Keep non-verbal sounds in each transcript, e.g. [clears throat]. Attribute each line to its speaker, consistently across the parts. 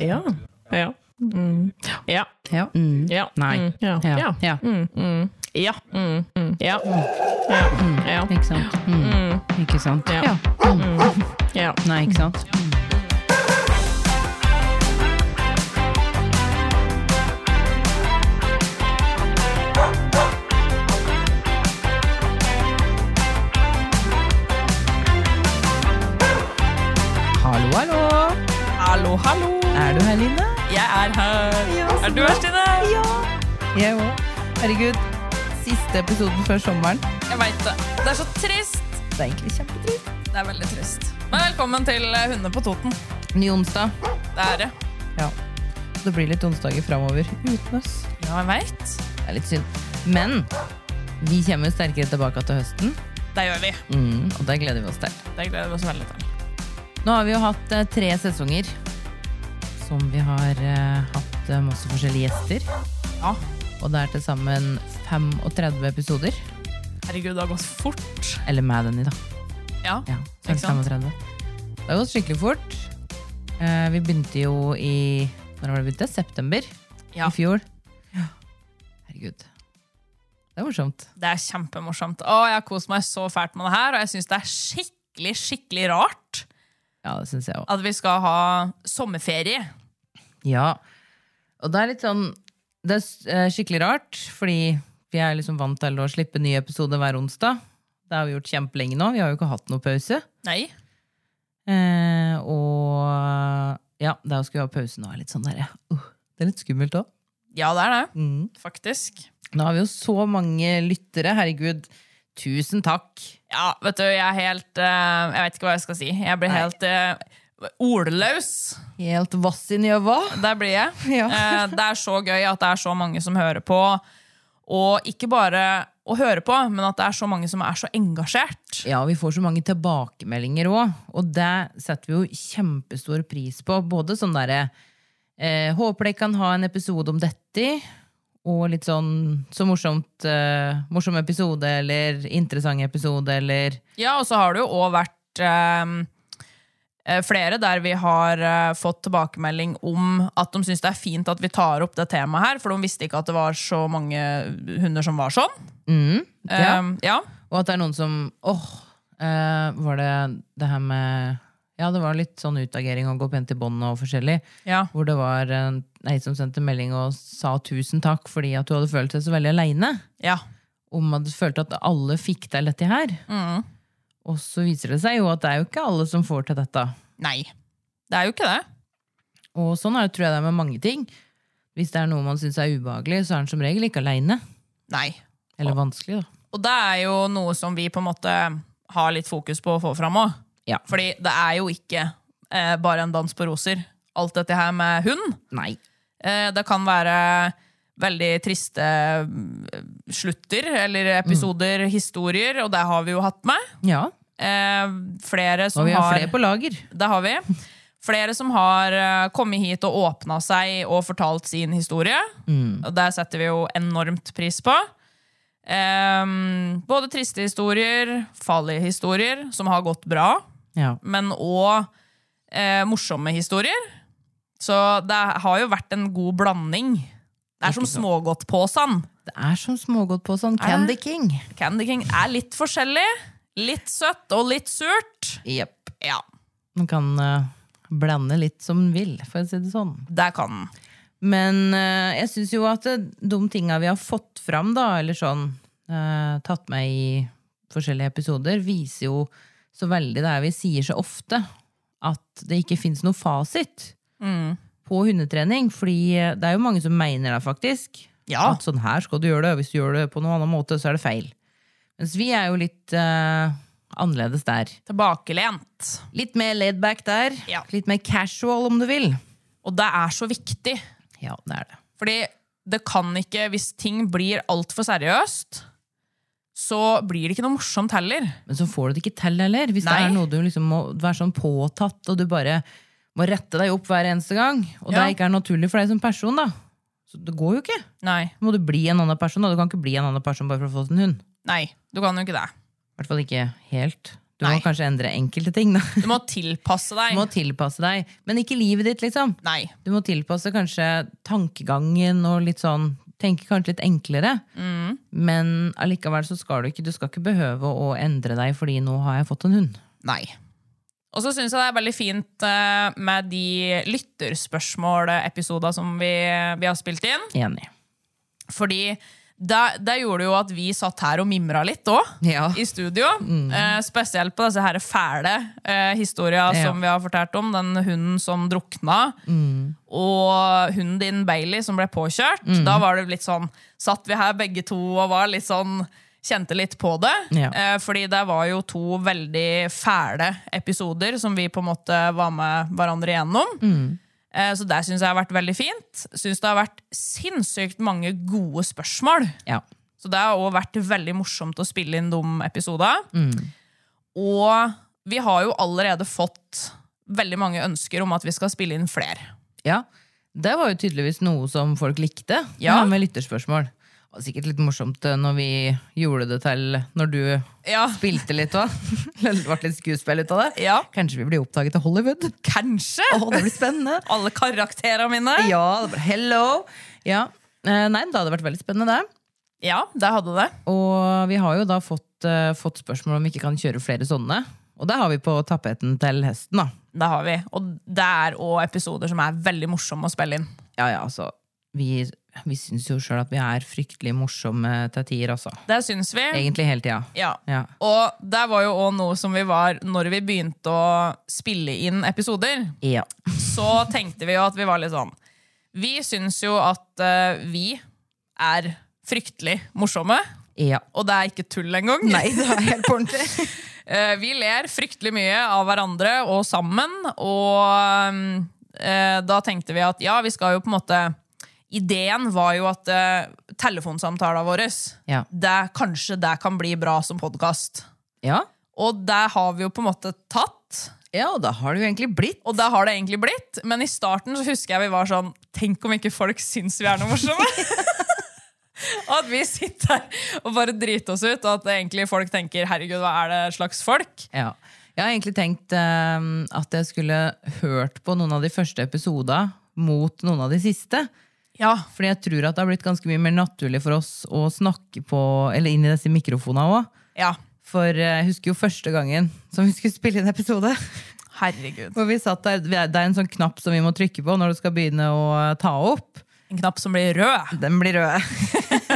Speaker 1: Ja.
Speaker 2: Ja. Mm. Ja.
Speaker 1: Ja. Mm.
Speaker 2: Ja.
Speaker 1: Nei.
Speaker 2: Mm. Ja.
Speaker 1: Ja.
Speaker 2: Ja.
Speaker 1: Ja.
Speaker 2: Mm. Mm. Ja. Mm. Mm. Ja. Ja.
Speaker 1: Ikke sant. Mm. Ikke sant.
Speaker 2: Ja. Mm.
Speaker 1: Ja.
Speaker 2: Ja.
Speaker 1: Nei, ikke sant. Hallo, hallo.
Speaker 2: Hallo, hallo!
Speaker 1: Er du her, Line?
Speaker 2: Jeg er her.
Speaker 1: Ja, så
Speaker 2: er du
Speaker 1: bra.
Speaker 2: her, Stine?
Speaker 1: Ja. Jeg òg. Herregud. Siste episoden før sommeren.
Speaker 2: Jeg veit det. Det er så trist.
Speaker 1: Det er egentlig kjempetrist.
Speaker 2: Det er veldig trist. Men velkommen til eh, Hundene på Toten.
Speaker 1: Ny onsdag.
Speaker 2: Det er eh, det.
Speaker 1: Ja. Det blir litt onsdager framover uten oss.
Speaker 2: Ja, jeg veit.
Speaker 1: Det er litt synd. Men vi kommer jo sterkere tilbake til høsten,
Speaker 2: Det gjør vi.
Speaker 1: mm, og det gleder vi oss til.
Speaker 2: Det gleder vi oss veldig til.
Speaker 1: Nå har vi jo hatt eh, tre sesonger som vi har eh, hatt eh, masse forskjellige gjester.
Speaker 2: Ja.
Speaker 1: Og det er til sammen 35 episoder.
Speaker 2: Herregud, det har gått fort.
Speaker 1: Eller med den i, da.
Speaker 2: Ja.
Speaker 1: Ja, så er det
Speaker 2: Ikke sant?
Speaker 1: 35. Det har gått skikkelig fort. Eh, vi begynte jo i Når var det vi begynte? September
Speaker 2: Ja.
Speaker 1: i fjor. Herregud. Det er morsomt.
Speaker 2: Det er kjempemorsomt. Å, jeg har kost meg så fælt med det her, og jeg syns det er skikkelig, skikkelig rart
Speaker 1: Ja, det syns jeg òg.
Speaker 2: at vi skal ha sommerferie.
Speaker 1: Ja. Og det er litt sånn Det er s- eh, skikkelig rart, fordi vi er liksom vant til å slippe nye episoder hver onsdag. Det har vi gjort kjempelenge nå. Vi har jo ikke hatt noe pause.
Speaker 2: Nei.
Speaker 1: Eh, og ja, det å skulle ha pause nå er litt sånn derre uh, Det er litt skummelt òg.
Speaker 2: Ja, det er det.
Speaker 1: Mm.
Speaker 2: Faktisk.
Speaker 1: Nå har vi jo så mange lyttere. Herregud, tusen takk.
Speaker 2: Ja, vet du, jeg er helt eh, Jeg vet ikke hva jeg skal si. Jeg blir
Speaker 1: Nei.
Speaker 2: helt eh, ordløs.
Speaker 1: Helt vass i njøva.
Speaker 2: Der blir jeg.
Speaker 1: [laughs] Ja.
Speaker 2: Eh, det er så gøy at det er så mange som hører på. Og ikke bare å høre på, men at det er så mange som er så engasjert.
Speaker 1: Ja, vi får så mange tilbakemeldinger òg, og det setter vi jo kjempestor pris på. Både sånn derre eh, Håper dere kan ha en episode om dette, i», og litt sånn så morsomt eh, Morsom episode, eller interessant episode, eller
Speaker 2: Ja, og så har det jo òg vært eh, eh, flere der vi har eh, fått tilbakemelding om at de syns det er fint at vi tar opp det temaet her, for de visste ikke at det var så mange hunder som var sånn.
Speaker 1: Mm, ja.
Speaker 2: Eh, ja.
Speaker 1: Og at det er noen som åh, eh, var det det her med Ja, det var litt sånn utagering og gå pent i bånd og forskjellig.
Speaker 2: ja.
Speaker 1: Hvor det var en ei som sendte melding og sa tusen takk fordi at du hadde følt deg så veldig aleine.
Speaker 2: Ja.
Speaker 1: Om at du følte at alle fikk til dette her. Og så viser det seg jo at det er jo ikke alle som får til dette.
Speaker 2: Nei. Det er jo ikke det.
Speaker 1: Og sånn er det, tror jeg det er med mange ting. Hvis det er noe man syns er ubehagelig, så er en som regel ikke aleine.
Speaker 2: Nei.
Speaker 1: Eller vanskelig, da.
Speaker 2: Og det er jo noe som vi på en måte har litt fokus på å få fram òg.
Speaker 1: Ja.
Speaker 2: Fordi det er jo ikke eh, bare en dans på roser. Alt dette her med hund.
Speaker 1: Nei.
Speaker 2: Eh, Det kan være veldig triste mm, slutter eller episoder,
Speaker 1: Mm.
Speaker 2: historier, og det har vi jo hatt med.
Speaker 1: Ja.
Speaker 2: Eh, Flere som
Speaker 1: Og vi har
Speaker 2: har
Speaker 1: flere på lager.
Speaker 2: Det har vi. Flere som har eh, kommet hit og åpna seg og fortalt sin historie. Og det setter vi jo enormt pris på. Ehm, både triste historier, farlige historier, som har gått bra,
Speaker 1: Ja.
Speaker 2: men òg eh, morsomme historier. Så det har jo vært en god blanding. Det er som smågodtposen.
Speaker 1: Det er som smågodt på sånn
Speaker 2: Er
Speaker 1: Candy
Speaker 2: det?
Speaker 1: King.
Speaker 2: Candy King er litt forskjellig. Litt søtt og litt surt.
Speaker 1: Jepp.
Speaker 2: Ja,
Speaker 1: Man kan eh, blande litt som man vil, for å si det sånn.
Speaker 2: det kan den.
Speaker 1: Men eh, jeg syns jo at eh, de tinga vi har fått fram, da, eller sånn, eh, tatt med i forskjellige episoder, viser jo så veldig det her vi sier så ofte, at det ikke fins noe fasit
Speaker 2: Mm.
Speaker 1: på hundetrening. Fordi eh, det er jo mange som mener det, faktisk.
Speaker 2: Ja.
Speaker 1: At sånn her skal du gjøre det, og hvis du gjør det på noen annen måte, så er det feil. Mens vi er jo litt eh, annerledes der.
Speaker 2: Tilbakelent.
Speaker 1: Litt mer laid back der.
Speaker 2: Ja.
Speaker 1: Litt mer casual, om du vil.
Speaker 2: Og det er så viktig.
Speaker 1: Ja, det er det.
Speaker 2: Fordi det kan ikke, hvis ting blir altfor seriøst, så blir det ikke noe morsomt heller.
Speaker 1: Men så får du det ikke til heller. Hvis det
Speaker 2: Nei.
Speaker 1: er noe du liksom må være sånn påtatt, og du bare må rette deg opp hver eneste gang, og
Speaker 2: Ja.
Speaker 1: det ikke er naturlig for deg som person, da. Så det går jo ikke.
Speaker 2: Nei.
Speaker 1: Må du bli en annen person, da. Du kan ikke bli en annen person bare for å få en hund.
Speaker 2: Nei, du kan jo ikke det.
Speaker 1: I hvert fall ikke helt. Du
Speaker 2: Nei.
Speaker 1: må kanskje endre enkelte ting, da.
Speaker 2: Du må tilpasse
Speaker 1: Du
Speaker 2: deg.
Speaker 1: må tilpasse deg. Men ikke livet ditt, liksom.
Speaker 2: Nei.
Speaker 1: Du må tilpasse kanskje tankegangen og litt sånn Tenke kanskje litt enklere,
Speaker 2: Mm.
Speaker 1: men allikevel så skal du ikke Du skal ikke behøve å endre deg fordi nå har jeg fått en hund.
Speaker 2: Nei. Og så syns jeg det er veldig fint eh, med de lytterspørsmål-episoda som vi, vi har spilt inn.
Speaker 1: Enig.
Speaker 2: Fordi det, det gjorde jo at vi satt her og mimra litt òg,
Speaker 1: Ja. Mm.
Speaker 2: i studio. Eh, spesielt på disse her fæle eh, historia
Speaker 1: Ja.
Speaker 2: som vi har fortalt om. Den hunden som drukna,
Speaker 1: Mm.
Speaker 2: og hunden din Bailey som ble påkjørt. Da var det litt sånn Satt vi her begge to og var litt sånn Kjente litt på det.
Speaker 1: Ja.
Speaker 2: Eh, fordi det var jo to veldig fæle episoder som vi på en måte var med hverandre igjennom.
Speaker 1: Mm.
Speaker 2: Eh, Så det syns jeg har vært veldig fint. Syns det har vært sinnssykt mange gode spørsmål.
Speaker 1: Ja.
Speaker 2: Så det har òg vært veldig morsomt å spille inn de episodene.
Speaker 1: Mm.
Speaker 2: Og vi har jo allerede fått veldig mange ønsker om at vi skal spille inn flere.
Speaker 1: Ja, det var jo tydeligvis noe som folk likte
Speaker 2: Ja.
Speaker 1: ja. med lytterspørsmål. Det var sikkert litt morsomt eh, når vi gjorde det til når du [laughs]
Speaker 2: Ja,
Speaker 1: spilte litt òg. Det ble litt skuespill ut av det.
Speaker 2: Ja.
Speaker 1: Kanskje vi blir oppdaget av Hollywood?
Speaker 2: kanskje!
Speaker 1: Å, det blir spennende!
Speaker 2: [laughs] Alle karakterene mine.
Speaker 1: [laughs]
Speaker 2: Ja.
Speaker 1: Ja, det ble, hello! Ja. Eh, Nei, det hadde vært veldig spennende, det.
Speaker 2: det hadde det.
Speaker 1: Og vi har jo da fått, eh, fått spørsmål om vi ikke kan kjøre flere sånne. Og det har vi på tapeten til hesten, da.
Speaker 2: Det har vi. Og det er òg episoder som er veldig morsomme å spille inn.
Speaker 1: Ja, ja, altså. Vi, vi syns jo sjøl at vi er fryktelig morsomme til tider, altså.
Speaker 2: Det syns vi.
Speaker 1: Egentlig hele tida.
Speaker 2: Ja.
Speaker 1: Ja.
Speaker 2: Og det var jo òg noe som vi var Når vi begynte å spille inn episoder,
Speaker 1: Ja.
Speaker 2: så tenkte vi jo at vi var litt sånn Vi syns jo at eh, vi er fryktelig morsomme.
Speaker 1: ja.
Speaker 2: Og det er ikke tull engang.
Speaker 1: det er helt på ordentlig.
Speaker 2: [laughs] Eh, vi ler fryktelig mye av hverandre og sammen, og mm, eh, da tenkte vi at ja, vi skal jo på en måte Ideen var jo at eh, telefonsamtalene våre
Speaker 1: Ja.
Speaker 2: det, Kanskje det kan bli bra som podkast.
Speaker 1: [laughs] ja.
Speaker 2: Og det har vi jo på en måte tatt.
Speaker 1: ja, og da har det jo egentlig blitt.
Speaker 2: Og det har det egentlig blitt, men i starten så husker jeg vi var sånn Tenk om ikke folk syns vi er noe morsomme! [laughs] Og at vi sitter her og bare driter oss ut, og at egentlig folk tenker 'herregud, hva er det slags folk?'
Speaker 1: Ja. Jeg har egentlig tenkt eh, at jeg skulle hørt på noen av de første episodene mot noen av de siste.
Speaker 2: Ja,
Speaker 1: Fordi jeg tror at det har blitt ganske mye mer naturlig for oss å snakke på, eller inn i disse mikrofonene òg.
Speaker 2: ja.
Speaker 1: For eh, jeg husker jo første gangen som vi skulle spille inn episode. [laughs]
Speaker 2: Herregud.
Speaker 1: Hvor vi satt der, Det er en sånn knapp som vi må trykke på når du skal begynne å eh, ta opp.
Speaker 2: En knapp som blir rød.
Speaker 1: Den blir rød.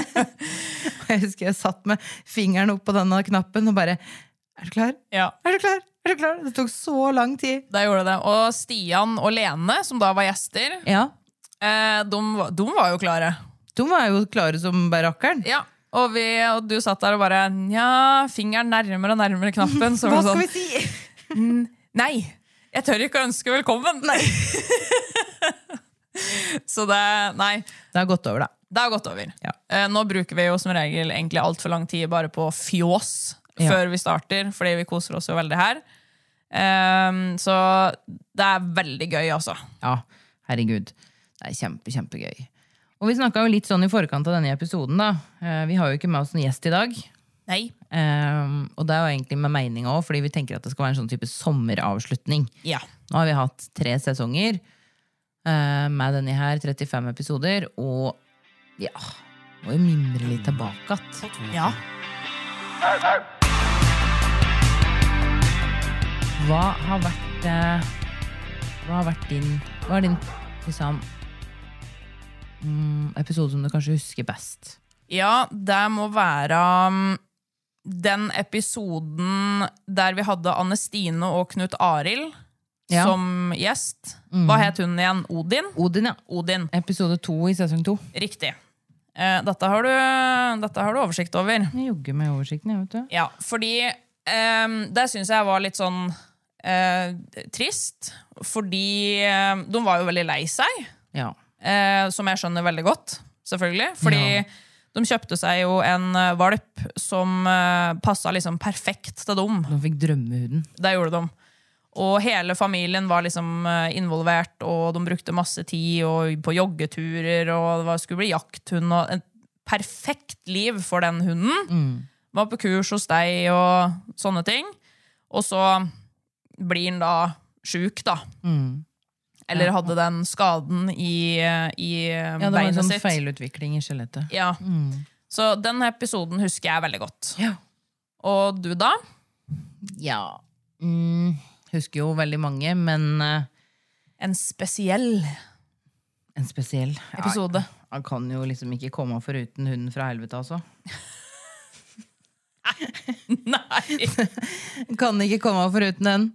Speaker 1: [laughs] Og jeg husker jeg satt med fingeren opp på denne knappen og bare Er du klar?
Speaker 2: Ja,
Speaker 1: Er du klar? Er du klar? Det tok så lang tid.
Speaker 2: det gjorde det. Og Stian og Lene, som da var gjester,
Speaker 1: Ja.
Speaker 2: eh, de, var- de var jo klare.
Speaker 1: De var jo klare som bare rakkeren.
Speaker 2: Ja. Og, vi, og du satt der og bare Nja, fingeren nærmere og nærmere knappen. Så
Speaker 1: Hva
Speaker 2: var
Speaker 1: skal
Speaker 2: det sånn,
Speaker 1: vi si?
Speaker 2: Nei! Jeg tør ikke å ønske velkommen! [laughs] så det Nei.
Speaker 1: Det har gått over, da.
Speaker 2: Det har gått over.
Speaker 1: Ja.
Speaker 2: Eh, nå bruker vi jo som regel egentlig altfor lang tid bare på fjås
Speaker 1: Ja.
Speaker 2: før vi starter, fordi vi koser oss jo veldig her. Ehm, så det er veldig gøy, altså.
Speaker 1: Ja, herregud. Det er kjempe, kjempegøy. Og vi snakka jo litt sånn i forkant av denne episoden, da. Eh, Vi har jo ikke med oss noen gjest i dag.
Speaker 2: Nei.
Speaker 1: Eh, og det er jo egentlig med meninga òg, fordi vi tenker at det skal være en sånn type sommeravslutning.
Speaker 2: Ja.
Speaker 1: Nå har vi hatt tre sesonger eh, med denne her, 35 episoder, og ja Må jo mimre litt tilbake igjen.
Speaker 2: ja.
Speaker 1: Hva har vært eh, Hva har vært din Hva er din liksom mm, episode som du kanskje husker best?
Speaker 2: Ja, det må være um, den episoden der vi hadde Anne Stine og Knut Arild
Speaker 1: Ja. Mm.
Speaker 2: som gjest. Hva het hun igjen? Odin?
Speaker 1: Odin, ja.
Speaker 2: Odin.
Speaker 1: Episode to i sesong to.
Speaker 2: Riktig. Eh, dette, har du, dette har du oversikt over.
Speaker 1: Jeg jogger med oversikten, jeg, vet du.
Speaker 2: Ja, fordi ehm, det syns jeg var litt sånn eh, trist, fordi eh, de var jo veldig lei seg.
Speaker 1: Ja.
Speaker 2: Eh, som jeg skjønner veldig godt, selvfølgelig. Fordi de kjøpte seg jo en eh, valp som eh, passa liksom perfekt til dem.
Speaker 1: De fikk drømmehuden.
Speaker 2: Det gjorde de. Og hele familien var liksom eh, involvert, og de brukte masse tid og på joggeturer, og det var, skulle bli jakthund. Og et perfekt liv for den hunden.
Speaker 1: Mm.
Speaker 2: Var på kurs hos deg og sånne ting. Og så blir den da sjuk, da.
Speaker 1: Mm.
Speaker 2: Eller hadde den skaden i, eh, i
Speaker 1: Ja, det var en
Speaker 2: beinet
Speaker 1: sånn
Speaker 2: sitt.
Speaker 1: feilutvikling i skjelettet.
Speaker 2: Ja. Så den episoden husker jeg veldig godt.
Speaker 1: Ja.
Speaker 2: Og du, da?
Speaker 1: ja. Mm, husker jo veldig mange, men eh,
Speaker 2: En spesiell
Speaker 1: en spesiell
Speaker 2: episode.
Speaker 1: Ja, han kan jo liksom ikke komme foruten hunden fra helvete, altså.
Speaker 2: [laughs] Nei!
Speaker 1: Kan ikke komme foruten den.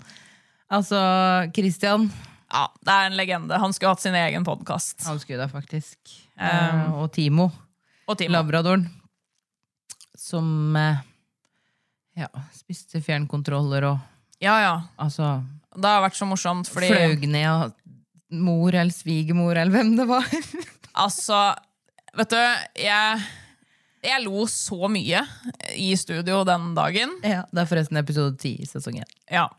Speaker 1: Altså, Christian
Speaker 2: Ja, det er en legende. Han skulle hatt sin egen podkast.
Speaker 1: Han skulle da faktisk. Eh, og Timo,
Speaker 2: Og Timo.
Speaker 1: labradoren. Som eh, ja, spiste fjernkontroller og
Speaker 2: Ja, ja.
Speaker 1: altså
Speaker 2: Det har vært så morsomt, fordi
Speaker 1: fløy ned av mor eller svigermor eller hvem det var. [laughs]
Speaker 2: altså Vet du, jeg, jeg lo så mye i studio den dagen.
Speaker 1: ja, det er forresten episode ti i sesong én.
Speaker 2: Ja.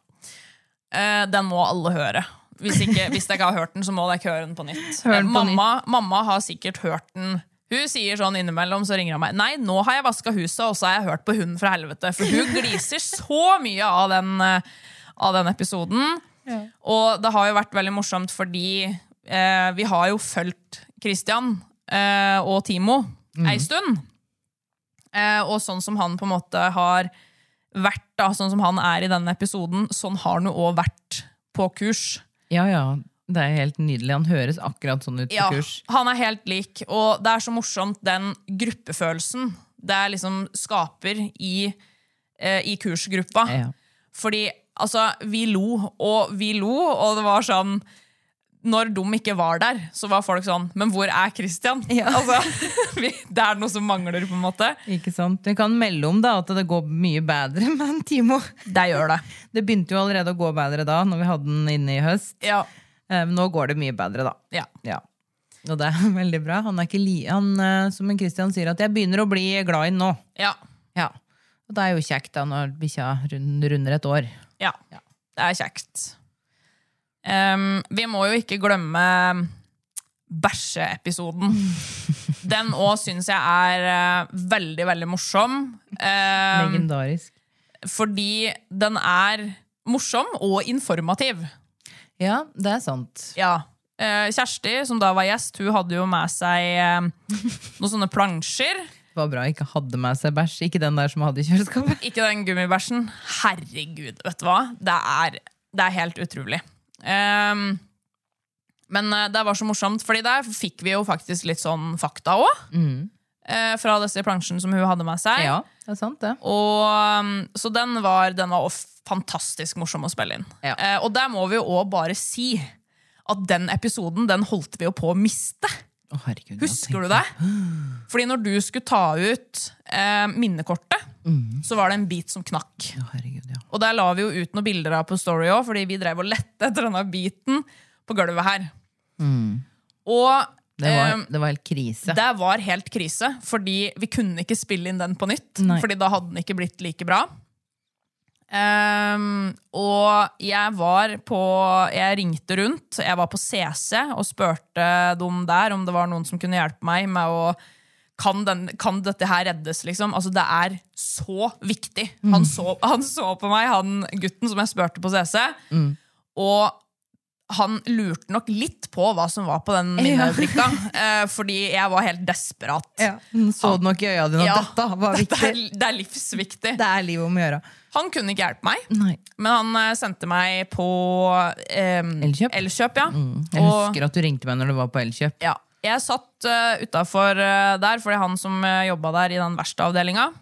Speaker 2: Eh, den må alle høre. Hvis, ikke, hvis dere ikke har hørt den, så må dere høre den på nytt.
Speaker 1: [laughs] Hør den på
Speaker 2: mamma, mamma har sikkert hørt den. Hun sier sånn innimellom, så ringer hun meg. Nei, nå har jeg vaska huset, og så har jeg hørt på Hunden fra helvete. For hun gliser så mye av den, eh, av den episoden. Og det har jo vært veldig morsomt fordi eh, vi har jo fulgt Christian eh, og Timo
Speaker 1: Mm.
Speaker 2: ei stund. Eh, og sånn som han på en måte har vært, da, sånn som han er i denne episoden, sånn har han jo òg vært på kurs.
Speaker 1: Ja, ja. Det er helt nydelig. Han høres akkurat sånn ut på
Speaker 2: Ja,
Speaker 1: kurs.
Speaker 2: han er helt lik, og det er så morsomt den gruppefølelsen det er liksom skaper i, eh, i kursgruppa.
Speaker 1: Ja.
Speaker 2: Fordi altså, vi lo, og vi lo, og det var sånn Når de ikke var der, så var folk sånn Men hvor er Christian? Altså, [laughs] vi, det er noe som mangler, på en måte.
Speaker 1: Ikke sant? Du kan melde om da at det går mye bedre [laughs] med en Timo.
Speaker 2: Det gjør det.
Speaker 1: Det begynte jo allerede å gå bedre da, når vi hadde den inne i høst.
Speaker 2: Ja.
Speaker 1: Eh, Men nå går det mye bedre, da.
Speaker 2: ja.
Speaker 1: Ja. Og det er [laughs] veldig bra. Han er ikke li han, eh, som en Christian sier, at 'jeg begynner å bli glad i han nå'.
Speaker 2: ja.
Speaker 1: Ja. Og det er jo kjekt da, når bikkja rund, runder et år.
Speaker 2: Ja. Det er kjekt. Ehm, vi må jo ikke glemme [laughs] bæsjeepisoden. Den òg syns jeg er eh, veldig, veldig morsom. Ehm,
Speaker 1: Legendarisk.
Speaker 2: fordi den er morsom og informativ.
Speaker 1: Ja, det er sant.
Speaker 2: Ja. Eh, Kjersti, som da var gjest, hun hadde jo med seg [laughs] eh, noen sånne plansjer.
Speaker 1: Det var bra jeg ikke hadde med seg bæsj. Ikke den der som jeg hadde i kjøleskapet.
Speaker 2: Ikke den gummibæsjen. Herregud, vet du hva? Det er, det er helt utrolig. Ehm, men eh, det var så morsomt, fordi der fikk vi jo faktisk litt sånn fakta òg. fra disse plansjene som hun hadde med seg.
Speaker 1: Mm. Ja, det er sant, det.
Speaker 2: Og, um, så den var, den var også fantastisk morsom å spille inn.
Speaker 1: Ja.
Speaker 2: Eh, og der må vi jo òg bare si at den episoden den holdt vi jo på å miste.
Speaker 1: Å, herregud, jeg
Speaker 2: Husker du
Speaker 1: tenkte-
Speaker 2: det? Fordi når du skulle ta ut eh, minnekortet,
Speaker 1: Mm.
Speaker 2: så var det en bit som knakk.
Speaker 1: Å, herregud, ja.
Speaker 2: Og der la vi jo ut noen bilder av på Story òg, fordi vi drev og lette etter denne biten på gulvet her. Og
Speaker 1: Mm. Det var,
Speaker 2: eh,
Speaker 1: det var helt krise.
Speaker 2: det var helt krise, fordi vi kunne ikke spille inn den på nytt.
Speaker 1: Nei.
Speaker 2: Fordi da hadde den ikke blitt like bra. Ehm, og jeg var på Jeg ringte rundt. Jeg var på CC og spurte dem der om det var noen som kunne hjelpe meg med å kan, den, kan dette her reddes, liksom? Altså, det er så viktig. Han
Speaker 1: Mm.
Speaker 2: så, han så på meg, han gutten som jeg spurte på CC,
Speaker 1: Mm.
Speaker 2: og han lurte nok litt på hva som var på den minnebrikka, eh, fordi jeg var helt desperat.
Speaker 1: Ja, hun så det nok i øya dine at
Speaker 2: Ja,
Speaker 1: dette [laughs] var
Speaker 2: [laughs] dette
Speaker 1: viktig.
Speaker 2: er, det er livsviktig.
Speaker 1: Det er livet om å gjøre.
Speaker 2: Han kunne ikke hjelpe meg,
Speaker 1: Nei.
Speaker 2: men han eh, sendte meg på eh,
Speaker 1: Elkjøp. Mm.
Speaker 2: Elkjøp, ja.
Speaker 1: Jeg
Speaker 2: Og-
Speaker 1: husker at du ringte meg når du var på Elkjøp.
Speaker 2: ja. Jeg satt uh, utafor der, fordi han som uh, jobba der i den verste avdelinga,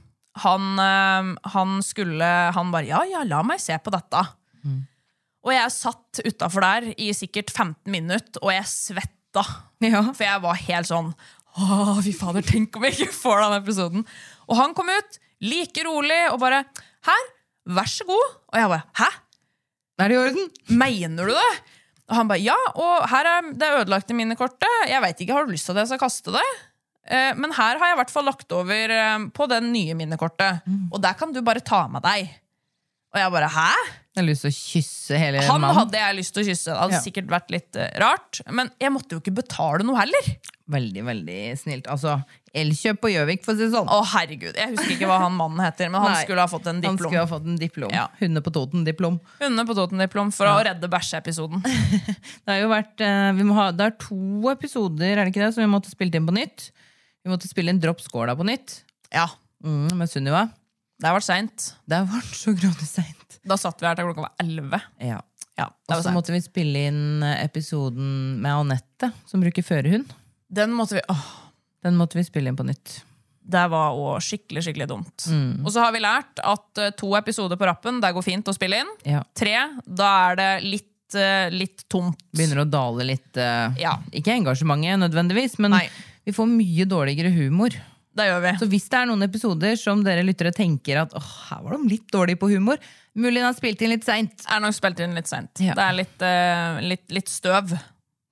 Speaker 2: han, eh, han skulle Han bare 'ja, ja, la meg se på dette'. Og jeg satt utafor der i sikkert 15 minutter, og jeg svetta.
Speaker 1: Ja.
Speaker 2: For jeg var helt sånn Å, fy fader, tenk om jeg ikke får den episoden. Og han kom ut like rolig og bare 'Her, vær så god'. Og jeg bare 'Hæ?
Speaker 1: Er det i orden?
Speaker 2: Mener du det? Og han bare ja, og her er det ødelagte minnekortet. Jeg veit ikke, har du lyst til at jeg skal kaste det? Eh, Men her har jeg i hvert fall lagt over eh, på den nye minnekortet.
Speaker 1: Mm.
Speaker 2: Og der kan du bare ta med deg. Og jeg bare hæ?
Speaker 1: Jeg har lyst til å kysse hele
Speaker 2: Han
Speaker 1: mannen.
Speaker 2: hadde jeg lyst til å kysse. Det hadde
Speaker 1: Ja.
Speaker 2: sikkert vært litt eh, rart. Men jeg måtte jo ikke betale noe heller.
Speaker 1: Veldig, veldig snilt. Altså, Elkjøp på Gjøvik, for å si det sånn.
Speaker 2: Å herregud, Jeg husker ikke hva han mannen heter, men han
Speaker 1: Nei.
Speaker 2: skulle ha fått en
Speaker 1: Han
Speaker 2: diplom.
Speaker 1: skulle ha fått en diplom.
Speaker 2: Ja.
Speaker 1: Hunde på Toten, diplom.
Speaker 2: Hunde på Toten-diplom for å redde bæsjeepisoden.
Speaker 1: Det har jo vært eh, vi må ha, Det er to episoder er det ikke det, som vi måtte spille inn på nytt. Vi måtte spille inn Dropp skåla på nytt
Speaker 2: Ja,
Speaker 1: mm, med Sunniva.
Speaker 2: det var seint.
Speaker 1: Det har vært så grådig seint.
Speaker 2: Da satt vi her til klokka var elleve.
Speaker 1: Ja.
Speaker 2: Ja, det
Speaker 1: Og så
Speaker 2: var seint.
Speaker 1: måtte vi spille inn eh, episoden med Anette, som bruker førerhund.
Speaker 2: Den måtte vi åh,
Speaker 1: Den måtte vi spille inn på nytt.
Speaker 2: Det var òg skikkelig skikkelig dumt.
Speaker 1: Mm.
Speaker 2: Og så har vi lært at eh, to episoder på rappen, det går fint å spille inn.
Speaker 1: Ja.
Speaker 2: Tre, da er det litt, eh, litt tomt.
Speaker 1: Begynner å dale litt eh,
Speaker 2: Ja.
Speaker 1: Ikke engasjementet nødvendigvis, men
Speaker 2: Nei.
Speaker 1: vi får mye dårligere humor.
Speaker 2: Det gjør vi.
Speaker 1: Så hvis det er noen episoder som dere lyttere tenker at åh, her var de litt dårlige på humor, mulig den har spilt inn litt seint.
Speaker 2: Er nok spilt inn litt seint.
Speaker 1: Ja.
Speaker 2: Det er litt, eh, litt, litt støv.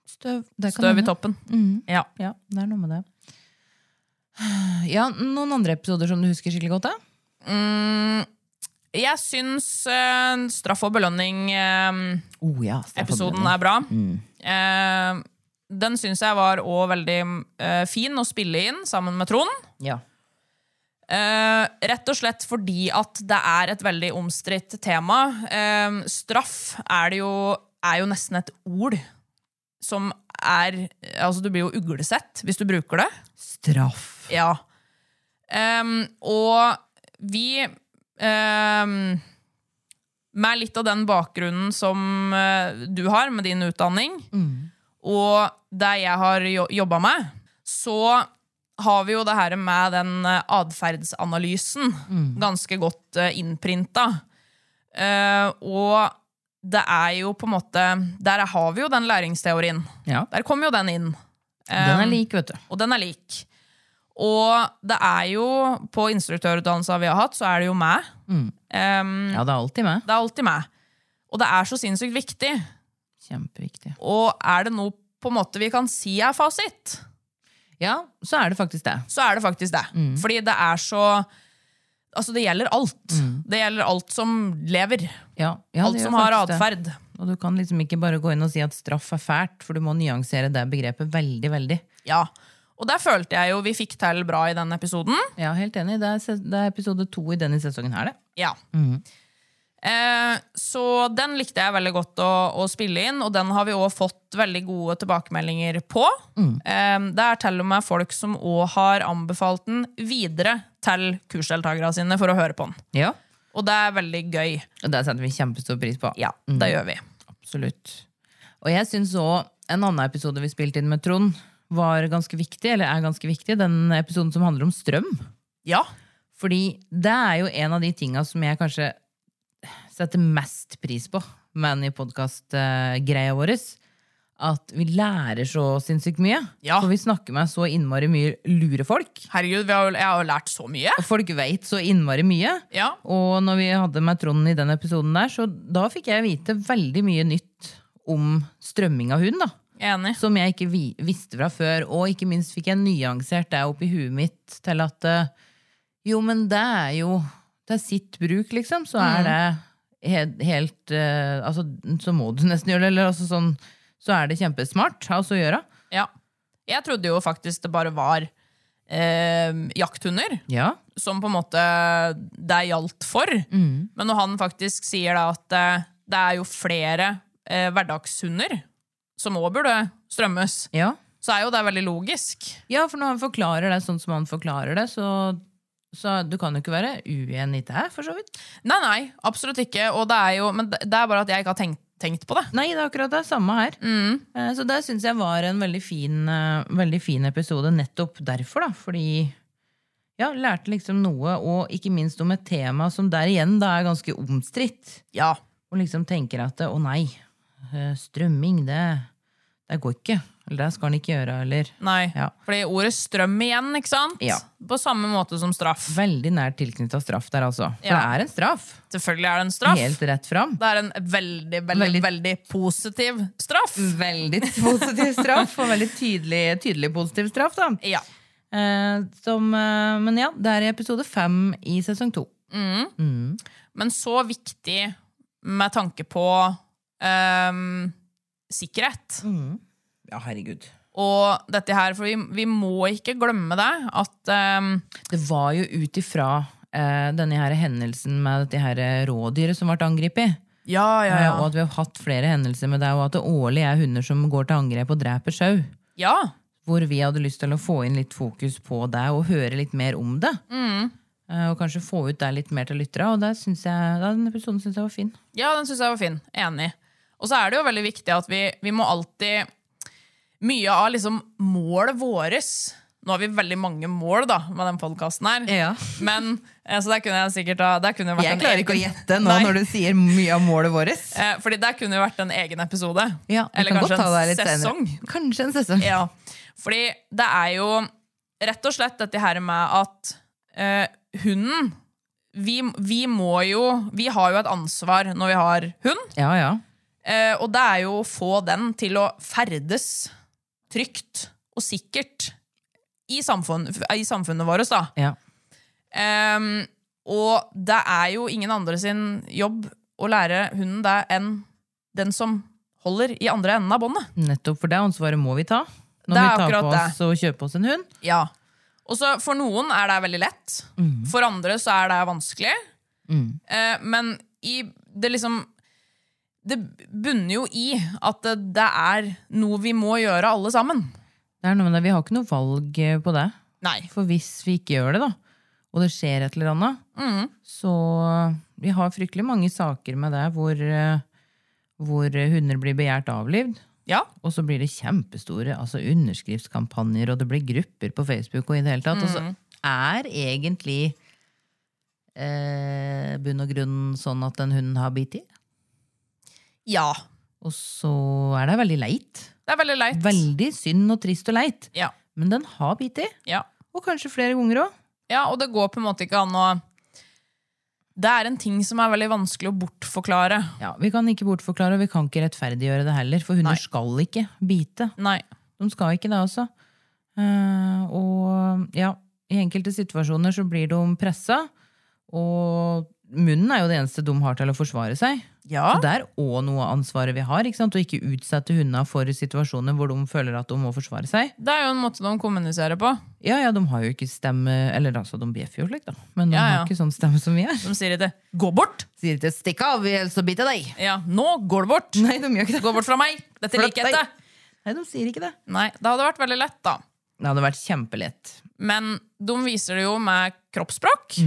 Speaker 1: Støv, det kan
Speaker 2: Støv i
Speaker 1: hende. Mm.
Speaker 2: toppen. Ja.
Speaker 1: Ja, det er noe med det. Ja, Noen andre episoder som du husker skikkelig godt? da?
Speaker 2: Mm, jeg syns eh, straff og belønning-episoden
Speaker 1: Oh, ja,
Speaker 2: er bra.
Speaker 1: Mm.
Speaker 2: Eh, den syns jeg var òg veldig eh, fin å spille inn sammen med Trond.
Speaker 1: Ja.
Speaker 2: Eh, rett og slett fordi at det er et veldig omstridt tema. Eh, straff er, det jo, er jo nesten et ord som er Altså, du blir jo uglesett hvis du bruker det.
Speaker 1: Straff.
Speaker 2: Ja. Ehm, og vi ehm, Med litt av den bakgrunnen som eh, du har med din utdanning, og det jeg har jo- jobba med, så har vi jo det her med den eh, atferdsanalysen ganske godt eh, innprinta. Eh, og det er jo på en måte Der har vi jo den læringsteorien.
Speaker 1: Ja,
Speaker 2: Der kommer jo den inn.
Speaker 1: Den er
Speaker 2: Ehm,
Speaker 1: lik, vet du.
Speaker 2: og den er lik. Og det er jo, på instruktørutdannelsen vi har hatt, så er det jo meg.
Speaker 1: Mm.
Speaker 2: Um,
Speaker 1: Ja, det er alltid meg.
Speaker 2: Det er alltid meg. Og det er så sinnssykt viktig.
Speaker 1: Kjempeviktig.
Speaker 2: Og er det noe på en måte vi kan si er fasit,
Speaker 1: Ja, så er det faktisk det.
Speaker 2: så er det faktisk det.
Speaker 1: Mm.
Speaker 2: Fordi det er så Altså, det gjelder alt. Det gjelder alt som lever.
Speaker 1: Mm. Ja, ja,
Speaker 2: alt
Speaker 1: det gjør
Speaker 2: som har
Speaker 1: faktisk det.
Speaker 2: atferd.
Speaker 1: Og du kan liksom ikke bare gå inn og si at straff er fælt, for du må nyansere det begrepet veldig, veldig.
Speaker 2: Ja. Og der følte jeg jo vi fikk til bra i den episoden.
Speaker 1: Ja, helt enig. Det er, ses- det er episode to i denne sesongen her, det.
Speaker 2: Ja. Eh, så den likte jeg veldig godt å, å spille inn, og den har vi òg fått veldig gode tilbakemeldinger på. Eh, det er til og med folk som òg har anbefalt den videre til kursdeltakerne sine for å høre på den.
Speaker 1: Ja.
Speaker 2: Og det er veldig gøy.
Speaker 1: Og det setter vi kjempestor pris på.
Speaker 2: Ja, det gjør vi.
Speaker 1: Absolutt. Og jeg syns òg en annen episode vi spilte inn med Trond, var ganske viktig, eller er ganske viktig, den episoden som handler om strøm.
Speaker 2: Ja.
Speaker 1: Fordi det er jo en av de tinga som jeg kanskje setter mest pris på med den i podkastgreia vår. At vi lærer så sinnssykt mye.
Speaker 2: Ja.
Speaker 1: For vi snakker med så innmari mye lure folk.
Speaker 2: Herregud, vi har, jo- jeg har jo lært så mye.
Speaker 1: Og folk veit så innmari mye.
Speaker 2: Ja.
Speaker 1: Og når vi hadde med Trond i den episoden der, så da fikk jeg vite veldig mye nytt om strømming av hund, da.
Speaker 2: Enig.
Speaker 1: Som jeg ikke vi visste fra før. Og ikke minst fikk jeg nyansert det opp i huet mitt til at eh, jo, men det er jo til sitt bruk, liksom. Så er det he- helt eh, Altså, så må du nesten gjøre det. Eller altså sånn Så er det kjempesmart av oss å gjøre.
Speaker 2: Ja. Jeg trodde jo faktisk det bare var eh, jakthunder.
Speaker 1: Ja.
Speaker 2: som på en måte det gjaldt for.
Speaker 1: Mm.
Speaker 2: Men når han faktisk sier da at eh, det er jo flere eh, hverdagshunder som òg burde strømmes,
Speaker 1: ja.
Speaker 2: så er jo det veldig logisk.
Speaker 1: Ja, for når han forklarer det sånn som han forklarer det, så, så du kan jo ikke være uenig der, for så vidt.
Speaker 2: Nei, nei, absolutt ikke. Og det er jo, men det det er bare at jeg ikke har tenkt, tenkt på det.
Speaker 1: Nei, det er akkurat det samme her. Eh, Så det syns jeg var en veldig fin, eh, veldig fin episode nettopp derfor, da. Fordi ja, lærte liksom noe, og ikke minst om et tema som der igjen da er ganske omstridt.
Speaker 2: Ja.
Speaker 1: Og liksom tenker at å nei, eh, strømming, det, Det går ikke. Eller det skal han ikke gjøre, eller
Speaker 2: Nei.
Speaker 1: Ja.
Speaker 2: Fordi ordet strøm igjen, ikke sant?
Speaker 1: Ja.
Speaker 2: På samme måte som straff.
Speaker 1: Veldig nært tilknytta straff der, altså. For
Speaker 2: Ja.
Speaker 1: det er en straff.
Speaker 2: Selvfølgelig er det en straff.
Speaker 1: Helt rett fram.
Speaker 2: Det er en veldig, veldig, veldig,
Speaker 1: Veldig- Mm.
Speaker 2: positiv straff.
Speaker 1: Veldig positiv straff, [laughs] og veldig tydelig, tydelig positiv straff, da.
Speaker 2: Ja.
Speaker 1: Eh, som, eh, men ja, det er i episode fem i sesong to.
Speaker 2: Men så viktig med tanke på ehm, sikkerhet.
Speaker 1: Mm. Ja, herregud.
Speaker 2: Og dette her, for vi, vi må ikke glemme det, at ehm,
Speaker 1: Det var jo ut ifra eh, denne her hendelsen med dette her eh, rådyret som ble angrepet.
Speaker 2: ja, ja,
Speaker 1: Eh, Og at vi har hatt flere hendelser med det, og at det årlig er hunder som går til angrep og dreper sau.
Speaker 2: ja.
Speaker 1: Hvor vi hadde lyst til å få inn litt fokus på det og høre litt mer om det. Eh, Og kanskje få ut det litt mer til lyttere. Og det synes jeg, den episoden syns jeg var fin.
Speaker 2: Ja, den syns jeg var fin. Enig. Og så er det jo veldig viktig at vi, vi må alltid Mye av liksom målet våres Nå har vi veldig mange mål da, med den podkasten her.
Speaker 1: Ja.
Speaker 2: Men, eh, så der kunne jeg sikkert ha der kunne det vært
Speaker 1: Jeg
Speaker 2: en
Speaker 1: klarer
Speaker 2: egen-
Speaker 1: ikke å gjette nå
Speaker 2: Nei.
Speaker 1: når du sier mye av målet vårt.
Speaker 2: Eh, Fordi der kunne det vært en egen episode.
Speaker 1: Ja, vi
Speaker 2: Eller
Speaker 1: kan
Speaker 2: kanskje
Speaker 1: godt ta det
Speaker 2: en
Speaker 1: litt senere.
Speaker 2: sesong.
Speaker 1: Kanskje en sesong.
Speaker 2: Ja, fordi det er jo rett og slett dette her med at eh, hunden vi, vi må jo Vi har jo et ansvar når vi har hund,
Speaker 1: Ja, ja.
Speaker 2: eh, og det er jo å få den til å ferdes trygt og sikkert i, samfunn, i samfunnet vårt, da.
Speaker 1: ja.
Speaker 2: Ehm, og det er jo ingen andre sin jobb å lære hunden det enn den som holder i andre enden av båndet.
Speaker 1: Nettopp for det ansvaret må vi ta. Når
Speaker 2: Det er
Speaker 1: vi tar på
Speaker 2: akkurat det.
Speaker 1: oss og kjøper oss en hund.
Speaker 2: Ja. Mm. Og så For noen er det veldig lett. For andre så er det vanskelig. Eh, men i det liksom Det bunner jo i at det, det er noe vi må gjøre, alle sammen.
Speaker 1: Det er noe med det. Vi har ikke noe valg eh, på det.
Speaker 2: Nei.
Speaker 1: For hvis vi ikke gjør det, da, og det skjer et eller annet,
Speaker 2: Mm.
Speaker 1: så Vi har fryktelig mange saker med det hvor, eh, hvor hunder blir begjært avlivd.
Speaker 2: Ja.
Speaker 1: Og så blir det kjempestore altså underskriftskampanjer, og det blir grupper på Facebook. Og i det hele tatt, og
Speaker 2: Mm.
Speaker 1: så er egentlig eh, bunn og grunn sånn at den hunden har bitt i.
Speaker 2: ja.
Speaker 1: Og så er det veldig leit.
Speaker 2: Det er veldig leit.
Speaker 1: Veldig synd og trist og leit.
Speaker 2: Ja.
Speaker 1: Men den har bitt i.
Speaker 2: ja.
Speaker 1: Og kanskje flere ganger òg.
Speaker 2: Ja, og det går på en måte ikke an å Det er en ting som er veldig vanskelig å bortforklare.
Speaker 1: Ja, vi kan ikke bortforklare, og vi kan ikke rettferdiggjøre det heller. For hunder
Speaker 2: Nei.
Speaker 1: skal ikke bite.
Speaker 2: Nei.
Speaker 1: De skal ikke det, altså. Eh, og ja, i enkelte situasjoner så blir de pressa. Og munnen er jo det eneste de har til å forsvare seg.
Speaker 2: Ja.
Speaker 1: Så det er òg noe av ansvaret vi har. ikke sant? Å ikke utsette hundene for situasjoner hvor de føler at de må forsvare seg.
Speaker 2: Det er jo en måte de kommuniserer på.
Speaker 1: Ja, ja, de har jo ikke stemme Eller altså, de bjeffer jo slik, da. Men de
Speaker 2: Ja, ja.
Speaker 1: har ikke sånn stemme som vi har.
Speaker 2: De sier ikke 'gå bort'.
Speaker 1: Sier ikke 'stikk av, ellers så biter jeg deg'.
Speaker 2: Ja, 'nå går du bort'.
Speaker 1: Nei, de gjør ikke det.
Speaker 2: [laughs] Gå bort fra meg. Dette
Speaker 1: Flytt
Speaker 2: liker jeg ikke.
Speaker 1: deg. Nei, de sier ikke det.
Speaker 2: Nei, det hadde vært veldig lett, da.
Speaker 1: Det hadde vært kjempelett.
Speaker 2: Men de viser det jo med kroppsspråk.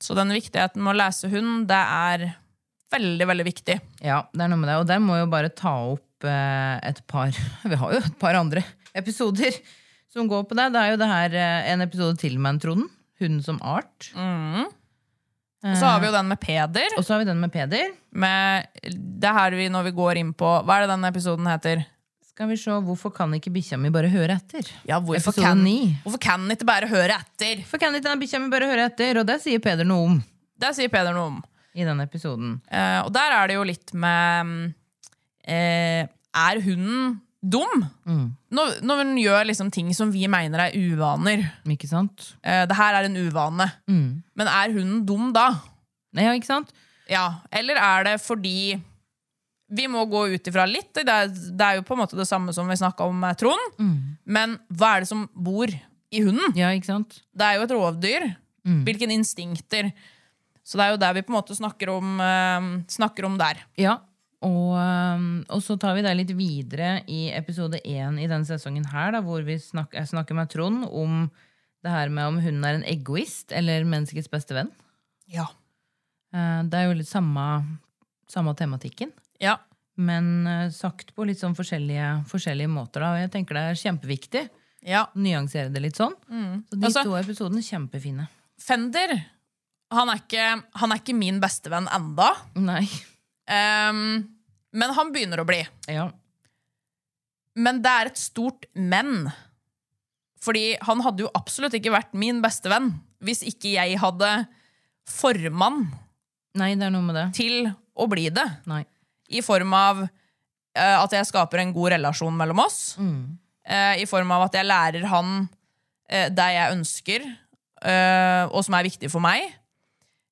Speaker 2: Så den viktigheten med å lese hund, det er veldig, veldig viktig.
Speaker 1: Ja, det er noe med det. Og der må jeg jo bare ta opp eh, et par [laughs] Vi har jo et par andre episoder som går på det. Det er jo det her eh, en episode til med en Trond. Hunden som art.
Speaker 2: Og så har vi jo den med Peder.
Speaker 1: Og så har vi den med Peder.
Speaker 2: Med det her vi, når vi går inn på Hva er det den episoden heter?
Speaker 1: Skal vi se, Hvorfor kan ikke bikkja mi bare høre etter?
Speaker 2: Ja, hvorfor
Speaker 1: Episode
Speaker 2: kan,
Speaker 1: ni.
Speaker 2: hvorfor kan den ikke bare høre etter?
Speaker 1: Hvorfor kan ikke den bikkja mi bare høre etter? Og det sier Peder noe om
Speaker 2: Det sier Peder noe om.
Speaker 1: i den episoden.
Speaker 2: Eh, og der er det jo litt med mm, eh, Er hunden dum? Når, når hun gjør liksom ting som vi mener er uvaner.
Speaker 1: Ikke sant?
Speaker 2: Eh, det her er en uvane. Men er hunden dum da?
Speaker 1: Nei, ja, ikke sant?
Speaker 2: Ja. Eller er det fordi Vi må gå ut ifra litt. Det er, det er jo på en måte det samme som vi snakka om med Trond. Men hva er det som bor i hunden?
Speaker 1: Ja, ikke sant?
Speaker 2: Det er jo et rovdyr. Hvilke instinkter? Så det er jo det vi på en måte snakker om, eh, snakker om der.
Speaker 1: Ja. Og, øhm, og så tar vi det litt videre i episode én i denne sesongen her, da, hvor vi snak jeg snakker med Trond om det her med om hun er en egoist eller menneskets beste venn.
Speaker 2: Ja.
Speaker 1: Eh, Det er jo litt samme, samme tematikken,
Speaker 2: Ja.
Speaker 1: men eh, sagt på litt sånn forskjellige, forskjellige måter. Da. Og jeg tenker det er kjempeviktig
Speaker 2: ja.
Speaker 1: å nyansere det litt sånn. Så de
Speaker 2: Altså-
Speaker 1: to episodene er kjempefine.
Speaker 2: Fender, han er ikke, han er ikke min bestevenn enda.
Speaker 1: Nei. [laughs]
Speaker 2: Ehm, men han begynner å bli.
Speaker 1: Ja.
Speaker 2: Men det er et stort men. Fordi han hadde jo absolutt ikke vært min beste venn hvis ikke jeg hadde formann
Speaker 1: Nei, det er noe med det.
Speaker 2: til å bli det.
Speaker 1: Nei.
Speaker 2: I form av eh, at jeg skaper en god relasjon mellom oss. Eh, I form av at jeg lærer han eh, det jeg ønsker, eh, og som er viktig for meg.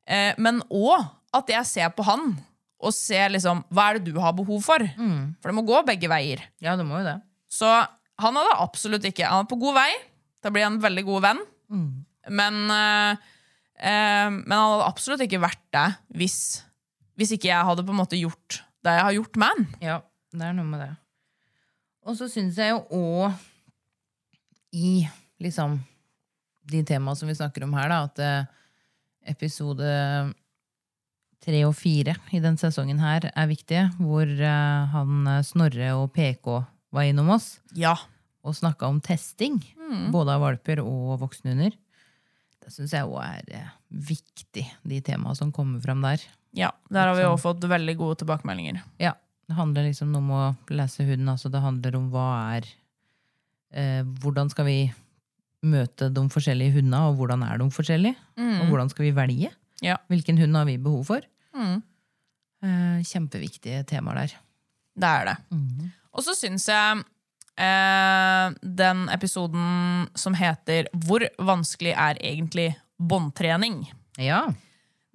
Speaker 2: Eh, men òg at jeg ser på han og ser liksom, hva er det du har behov for. For det må gå begge veier.
Speaker 1: Ja, det må jo det.
Speaker 2: Så han hadde absolutt ikke Han er på god vei. Da blir han en veldig god venn. Men, eh, eh, men han hadde absolutt ikke vært det hvis, hvis ikke jeg hadde på en måte gjort det jeg har gjort med han.
Speaker 1: Ja, det er noe med det. Og så syns jeg jo òg, i liksom de temaene som vi snakker om her, da, at eh, episode tre og fire i den sesongen her er viktige, hvor eh, han eh, Snorre og PK var innom oss
Speaker 2: Ja.
Speaker 1: og snakka om testing, både av valper og voksne hunder. Det syns jeg òg er eh, viktig, de temaene som kommer fram der.
Speaker 2: Der har vi også fått veldig gode tilbakemeldinger.
Speaker 1: Ja, det handler liksom om å lese huden. Altså det handler om hva er eh, Hvordan skal vi møte de forskjellige hundene, og hvordan er de forskjellige? Og hvordan skal vi velge?
Speaker 2: Ja.
Speaker 1: Hvilken hund har vi behov for? Eh, kjempeviktige temaer der.
Speaker 2: Det er det. Og så syns jeg eh, den episoden som heter 'Hvor vanskelig er egentlig båndtrening?'
Speaker 1: Ja.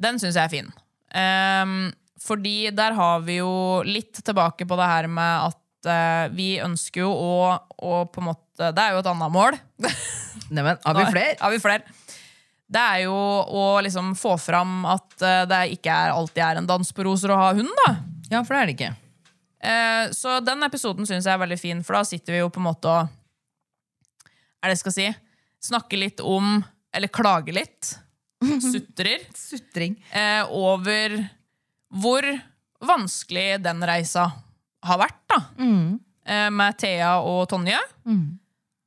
Speaker 2: Den syns jeg er fin. Ehm, fordi der har vi jo litt tilbake på det her med at eh, vi ønsker jo å, å på en måte Det er jo et annet mål.
Speaker 1: Neimen, har vi flere?
Speaker 2: [laughs] Har vi flere? Det er jo å liksom få fram at eh, det ikke er alltid er en dans på roser å ha hund, da.
Speaker 1: Ja, for det er det ikke.
Speaker 2: Eh, så den episoden syns jeg er veldig fin, for da sitter vi jo på en måte og Er det jeg skal si? Snakker litt om Eller klager
Speaker 1: [laughs]
Speaker 2: litt. Sutrer
Speaker 1: Sutring.
Speaker 2: eh, over hvor vanskelig den reisa har vært, da. Eh, med Thea og Tonje,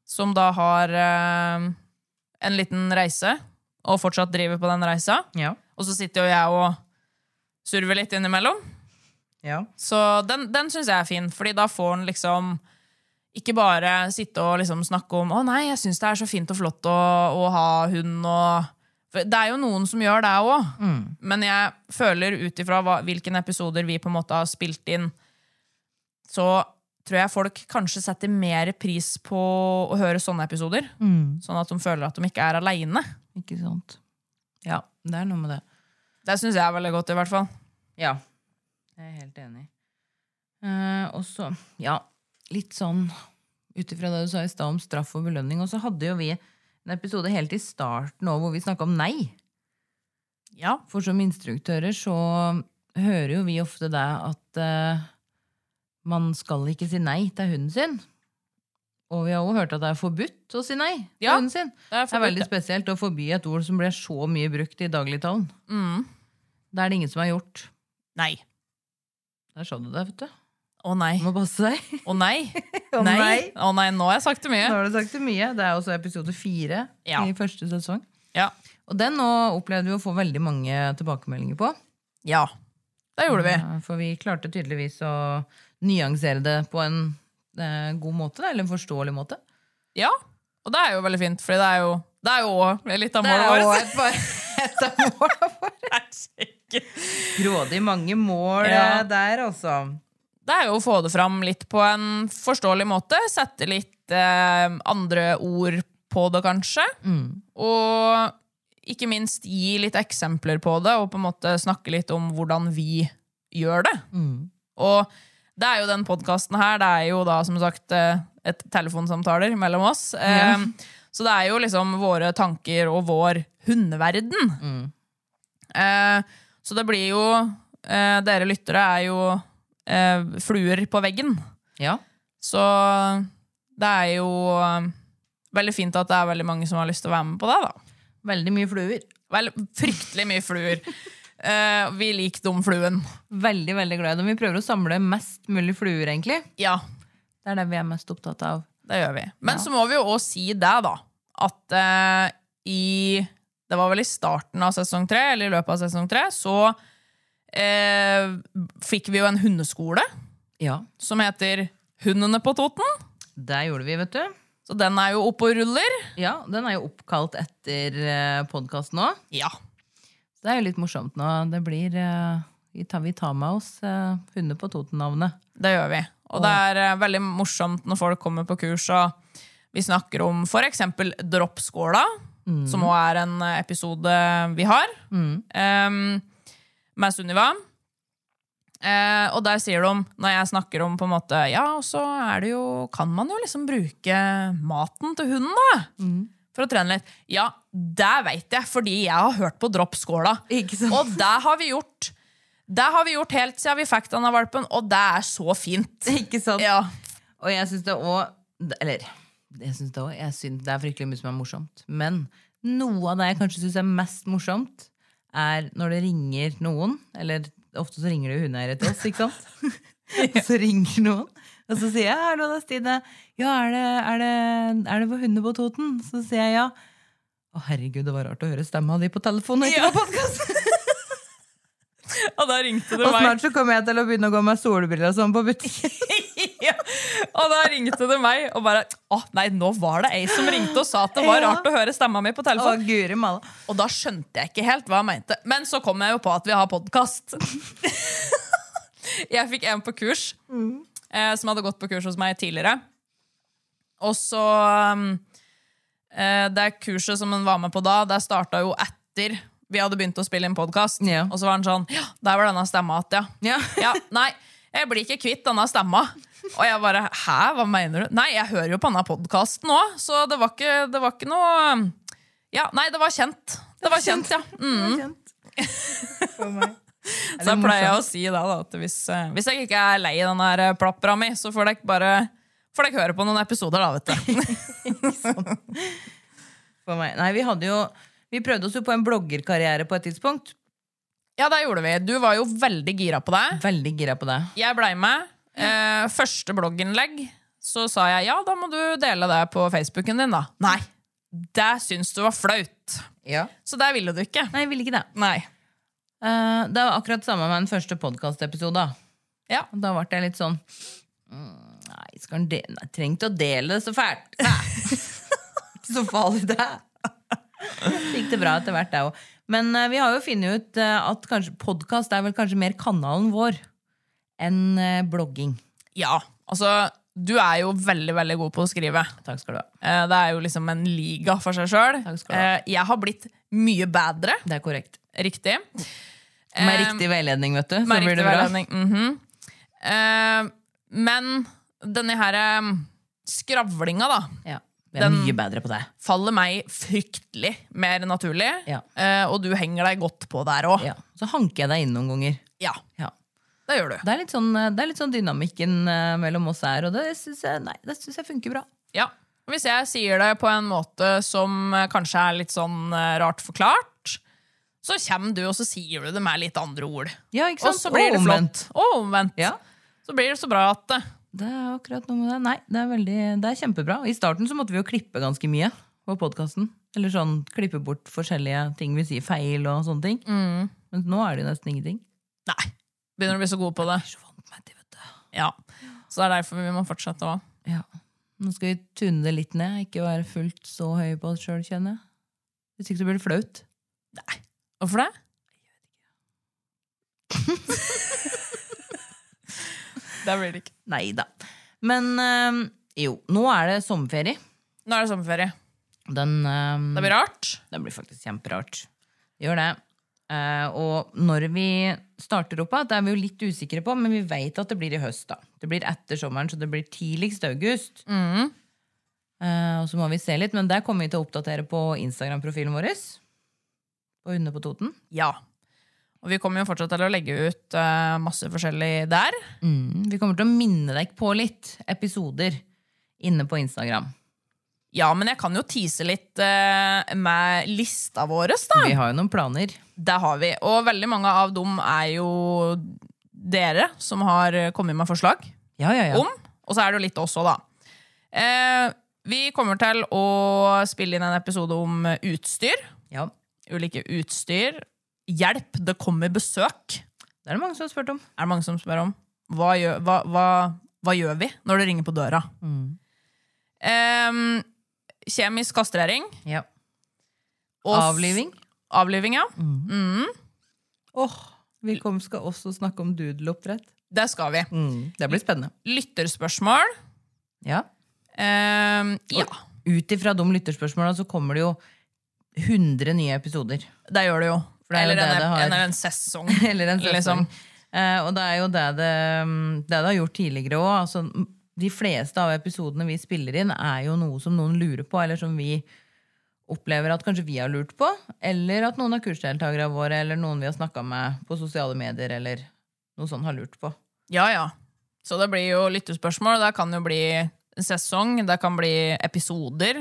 Speaker 2: som da har eh, en liten reise, og fortsatt driver på den reisa.
Speaker 1: Ja.
Speaker 2: Og så sitter jo jeg og surver litt innimellom.
Speaker 1: ja.
Speaker 2: Så den, den syns jeg er fin, fordi da får han liksom ikke bare sitte og liksom snakke om 'Å nei, jeg syns det er så fint og flott å, å ha hund', og for Det er jo noen som gjør det òg, men jeg føler ut ifra hva- hvilke episoder vi på en måte har spilt inn, så tror jeg folk kanskje setter mer pris på å høre sånne episoder. Sånn at de føler at de ikke er aleine.
Speaker 1: Ikke sant. Ja, det er noe med det.
Speaker 2: Det syns jeg er veldig godt, i hvert fall.
Speaker 1: Ja. Jeg er helt enig. Eh, og så, ja, litt sånn ut ifra det du sa i stad om straff og belønning, og så hadde jo vi en episode helt i starten også, hvor vi snakka om nei.
Speaker 2: Ja.
Speaker 1: For som instruktører så hører jo vi ofte det at eh, man skal ikke si nei til hunden sin. Og vi har også hørt at det er forbudt å si nei til
Speaker 2: Ja,
Speaker 1: hunden sin.
Speaker 2: det
Speaker 1: det
Speaker 2: er
Speaker 1: er
Speaker 2: forbudt,
Speaker 1: veldig spesielt å forby et ord som ble så mye brukt i dagligtalen.
Speaker 2: Mm.
Speaker 1: Det er det ingen som har gjort.
Speaker 2: Nei.
Speaker 1: Der sa du det, vet du.
Speaker 2: Å nei.
Speaker 1: Du må passe deg.
Speaker 2: Å nei.
Speaker 1: Å
Speaker 2: nei.
Speaker 1: nei.
Speaker 2: Å nei, nå har jeg sagt det
Speaker 1: Nå
Speaker 2: mye.
Speaker 1: har du sagt det mye. Det er også episode fire
Speaker 2: Ja.
Speaker 1: i første sesong.
Speaker 2: Ja.
Speaker 1: Og den nå opplevde vi å få veldig mange tilbakemeldinger på.
Speaker 2: ja. Det gjorde vi.
Speaker 1: Eh, For vi klarte tydeligvis å nyansere det på en eh, god måte, da, eller en forståelig måte.
Speaker 2: Ja. Og det er jo veldig fint, for det er jo det er jo også litt av
Speaker 1: Det er
Speaker 2: målet [laughs]
Speaker 1: jo
Speaker 2: vårt.
Speaker 1: et par- [laughs] et av målene våre. Grådig mange mål
Speaker 2: Ja.
Speaker 1: eh, der, altså.
Speaker 2: Det er jo å få det fram litt på en forståelig måte. Sette litt eh, andre ord på det, kanskje. Og ikke minst gi litt eksempler på det, og på en måte snakke litt om hvordan vi gjør det. Og det er jo den podkasten her, det er jo da som sagt eh, et telefonsamtaler mellom oss. Eh, Så det er jo liksom våre tanker og vår hundeverden. Eh, så det blir jo eh, Dere lyttere er jo eh, fluer på veggen.
Speaker 1: Ja.
Speaker 2: Så det er jo eh, veldig fint at det er veldig mange som har lyst til å være med på det. da.
Speaker 1: Veldig mye fluer.
Speaker 2: Vel, fryktelig mye fluer. Eh, vi liker dum fluen.
Speaker 1: Veldig, veldig glad i dem. Vi prøver å samle mest mulig fluer, egentlig.
Speaker 2: Ja,
Speaker 1: Det er det vi er mest opptatt av.
Speaker 2: det gjør vi. Men så må vi jo òg si det, da, at eh, i Det var vel i starten av sesong tre, eller i løpet av sesong tre, så eh, fikk vi jo en hundeskole
Speaker 1: Ja.
Speaker 2: som heter Hundene på Toten.
Speaker 1: Det gjorde vi, vet du.
Speaker 2: Så den er jo oppe og ruller.
Speaker 1: Ja, Den er jo oppkalt etter podkasten òg.
Speaker 2: Ja.
Speaker 1: Så det er jo litt morsomt nå. Det blir eh, Vi tar, vi tar med oss eh, Hunder på Toten-navnet.
Speaker 2: Det gjør vi. Og det er eh, veldig morsomt når folk kommer på kurs og vi snakker om f.eks. droppskåla,
Speaker 1: Mm.
Speaker 2: som òg er en eh, episode vi har eh, med Sunniva. Eh, og der sier de, når jeg snakker om på en måte Ja, og så er det jo Kan man jo liksom bruke maten til hunden, da?
Speaker 1: Mm.
Speaker 2: For å trene litt. Ja, det veit jeg, fordi jeg har hørt på droppskåla.
Speaker 1: Ikke sant?
Speaker 2: Og det har vi gjort. Det har vi gjort helt siden vi fikk denne valpen, og det er så fint.
Speaker 1: [laughs] Ikke sant?
Speaker 2: Ja.
Speaker 1: Og jeg syns det òg Eller jeg synes det, også, jeg synes det er fryktelig mye som er morsomt. Men noe av det jeg kanskje syns er mest morsomt, er når det ringer noen. Eller ofte så ringer det jo hundeeiere til oss, ikke
Speaker 2: [laughs]
Speaker 1: sant? Og så ringer noen, og så sier jeg 'hallo, det er Stine'. 'Ja, er det, er det, er det på Hunder på Toten?' Så sier jeg ja. Å, herregud, det var rart å høre stemma di på telefonen. og Ikke
Speaker 2: Ja.
Speaker 1: på podcast.
Speaker 2: [laughs] Og da ringte det
Speaker 1: Og
Speaker 2: meg.
Speaker 1: snart så kommer jeg til å begynne å gå med solbriller og sånn på butikken.
Speaker 2: [laughs] Ja. Og da ringte det meg og bare Å, nei, nå var det ei som ringte og sa at det var
Speaker 1: Ja.
Speaker 2: rart å høre stemma mi på
Speaker 1: Å,
Speaker 2: telefonen.
Speaker 1: guri malla.
Speaker 2: Og da skjønte jeg ikke helt hva jeg mente. Men så kom jeg jo på at vi har podkast. jeg fikk en på kurs eh, som hadde gått på kurs hos meg tidligere. Og så um, eh, Det kurset som hun var med på da, det starta jo etter vi hadde begynt å spille inn podkast.
Speaker 1: Ja.
Speaker 2: Og så var han sånn Ja, der var denne stemma igjen, [laughs] ja.
Speaker 1: Ja.
Speaker 2: Nei, jeg blir ikke kvitt denne stemma. Og jeg bare Hæ, hva mener du? Nei, jeg hører jo på denne podkasten òg, så det var ikke, det var ikke noe um, ja, nei, det var kjent. Det var kjent, ja. Mm. [laughs] Så jeg pleier jeg å si da, da at hvis, eh, hvis jeg ikke er lei den her eh, plappra mi, så får dere bare får dere høre på noen episoder, da, [laughs] vet du.
Speaker 1: for meg. Nei, vi hadde jo Vi prøvde oss jo på en bloggerkarriere på et tidspunkt.
Speaker 2: Ja, det gjorde vi. Du var jo veldig gira på det.
Speaker 1: Veldig gira på det.
Speaker 2: Jeg blei med. Eh, første blogginnlegg, så sa jeg ja, da må du dele det på Facebooken din, da. Nei. Det syns du var flaut. Så det ville du ikke.
Speaker 1: Nei, jeg ville ikke det.
Speaker 2: Nei.
Speaker 1: Eh, det var akkurat samme med den første podkastepisoden.
Speaker 2: Ja.
Speaker 1: Da ble jeg litt sånn mm, Nei, skal han dele Nei, trengte å dele det så fælt. [laughs] Nei.
Speaker 2: [laughs]
Speaker 1: Ikke så farlig, det. Gikk det bra etter hvert, det òg. Men eh, vi har jo funnet ut eh, at kanskje podkast er vel kanskje mer kanalen vår enn eh, blogging.
Speaker 2: Ja. Altså, du er jo veldig, veldig god på å skrive.
Speaker 1: Takk skal du ha.
Speaker 2: Eh, Det er jo liksom en liga for seg sjøl.
Speaker 1: Takk skal du ha.
Speaker 2: Jeg har blitt mye bedre.
Speaker 1: Det er korrekt.
Speaker 2: Riktig.
Speaker 1: Med
Speaker 2: Eh,
Speaker 1: riktig veiledning, vet du. Så
Speaker 2: med
Speaker 1: blir
Speaker 2: riktig
Speaker 1: det bra.
Speaker 2: veiledning. Mhm. Eh, Men denne her eh, skravlinga, da,
Speaker 1: Ja, vi er
Speaker 2: Den-
Speaker 1: mye bedre på det.
Speaker 2: faller meg fryktelig mer naturlig.
Speaker 1: Ja.
Speaker 2: Eh, Og du henger deg godt på der òg.
Speaker 1: Ja. Så hanker jeg deg inn noen ganger.
Speaker 2: Ja.
Speaker 1: Ja.
Speaker 2: det gjør du.
Speaker 1: Det, er litt sånn, eh, det er litt sånn dynamikken eh, mellom oss her, og det syns jeg, nei, det synes jeg funker bra.
Speaker 2: Ja. Hvis jeg sier det på en måte som eh, kanskje er litt sånn eh, rart forklart, så kommer du, og så sier du det med litt andre ord.
Speaker 1: Ja, ikke
Speaker 2: Og
Speaker 1: sant?
Speaker 2: så blir det
Speaker 1: omvendt.
Speaker 2: flott. Og omvendt.
Speaker 1: Ja.
Speaker 2: Så blir det så bra at eh,
Speaker 1: Det er akkurat noe med det. Nei, det er, veldig, det er kjempebra. I starten så måtte vi jo klippe ganske mye på podkasten. Eller sånn klippe bort forskjellige ting vi sier feil og sånne ting.
Speaker 2: Mm.
Speaker 1: Men nå er det jo nesten ingenting.
Speaker 2: Nei. Begynner å bli så god på det.
Speaker 1: Jeg er så vant meg til, vet du.
Speaker 2: Ja. Så det er derfor vi må fortsette òg.
Speaker 1: Ja. Nå skal vi tune det litt ned, ikke være fullt så høye på oss sjøl, kjenner jeg. Hvis ikke så blir det flaut.
Speaker 2: Hvorfor
Speaker 1: [laughs]
Speaker 2: det? det blir det ikke.
Speaker 1: Nei da. Men øhm, jo, nå er det sommerferie.
Speaker 2: Nå er det sommerferie.
Speaker 1: Den, øhm,
Speaker 2: Det blir rart.
Speaker 1: det blir faktisk kjemperart. Gjør det. Eh, og når vi starter opp igjen, det er vi jo litt usikre på, men vi vet at det blir i høst. da. Det blir etter sommeren, så det blir tidligst august.
Speaker 2: Mm.
Speaker 1: Eh, og så må vi se litt, men der kommer vi til å oppdatere på Instagram-profilen vår. På Hunde på Toten.
Speaker 2: Ja. Og vi kommer jo fortsatt til å legge ut eh, masse forskjellig der.
Speaker 1: Mm, vi kommer til å minne deg på litt episoder inne på Instagram.
Speaker 2: Ja, men jeg kan jo tease litt eh, med lista vår, da.
Speaker 1: Vi har jo noen planer.
Speaker 2: Det har vi. Og veldig mange av dem er jo dere som har kommet med forslag
Speaker 1: Ja, ja, ja.
Speaker 2: om. Og så er det jo litt oss òg, da. Eh, vi kommer til å spille inn en episode om utstyr.
Speaker 1: ja.
Speaker 2: Ulike utstyr. Hjelp, det kommer besøk.
Speaker 1: Det er det mange som har spurt om. Mm.
Speaker 2: Er det mange som spør om. Hva gjør, hva, hva, hva gjør vi når det ringer på døra? Ehm, kjemisk kastrering.
Speaker 1: Ja.
Speaker 2: og s-
Speaker 1: Avliving.
Speaker 2: Avliving, ja.
Speaker 1: Åh, Vi kom, skal også snakke om doodleoppdrett.
Speaker 2: Det skal vi.
Speaker 1: Mm, Det blir spennende.
Speaker 2: Lytterspørsmål.
Speaker 1: Ja.
Speaker 2: Ehm, ja,
Speaker 1: Ut ifra de lytterspørsmåla så kommer det jo 100 nye episoder.
Speaker 2: det gjør det jo.
Speaker 1: det er jo
Speaker 2: eller,
Speaker 1: det
Speaker 2: en,
Speaker 1: det har.
Speaker 2: eller en sesong.
Speaker 1: [laughs] Eller en sesong.
Speaker 2: Liksom.
Speaker 1: Eh, og det er jo det det, mm, det det har gjort tidligere òg. Altså, m- de fleste av episodene vi spiller inn, er jo noe som noen lurer på, eller som vi opplever at kanskje vi har lurt på. Eller at noen av kursdeltakerne våre eller noen vi har snakka med på sosiale medier, eller noe sånt har lurt på.
Speaker 2: Ja, ja. Så det blir jo lyttespørsmål. Det kan jo bli en sesong, det kan bli episoder.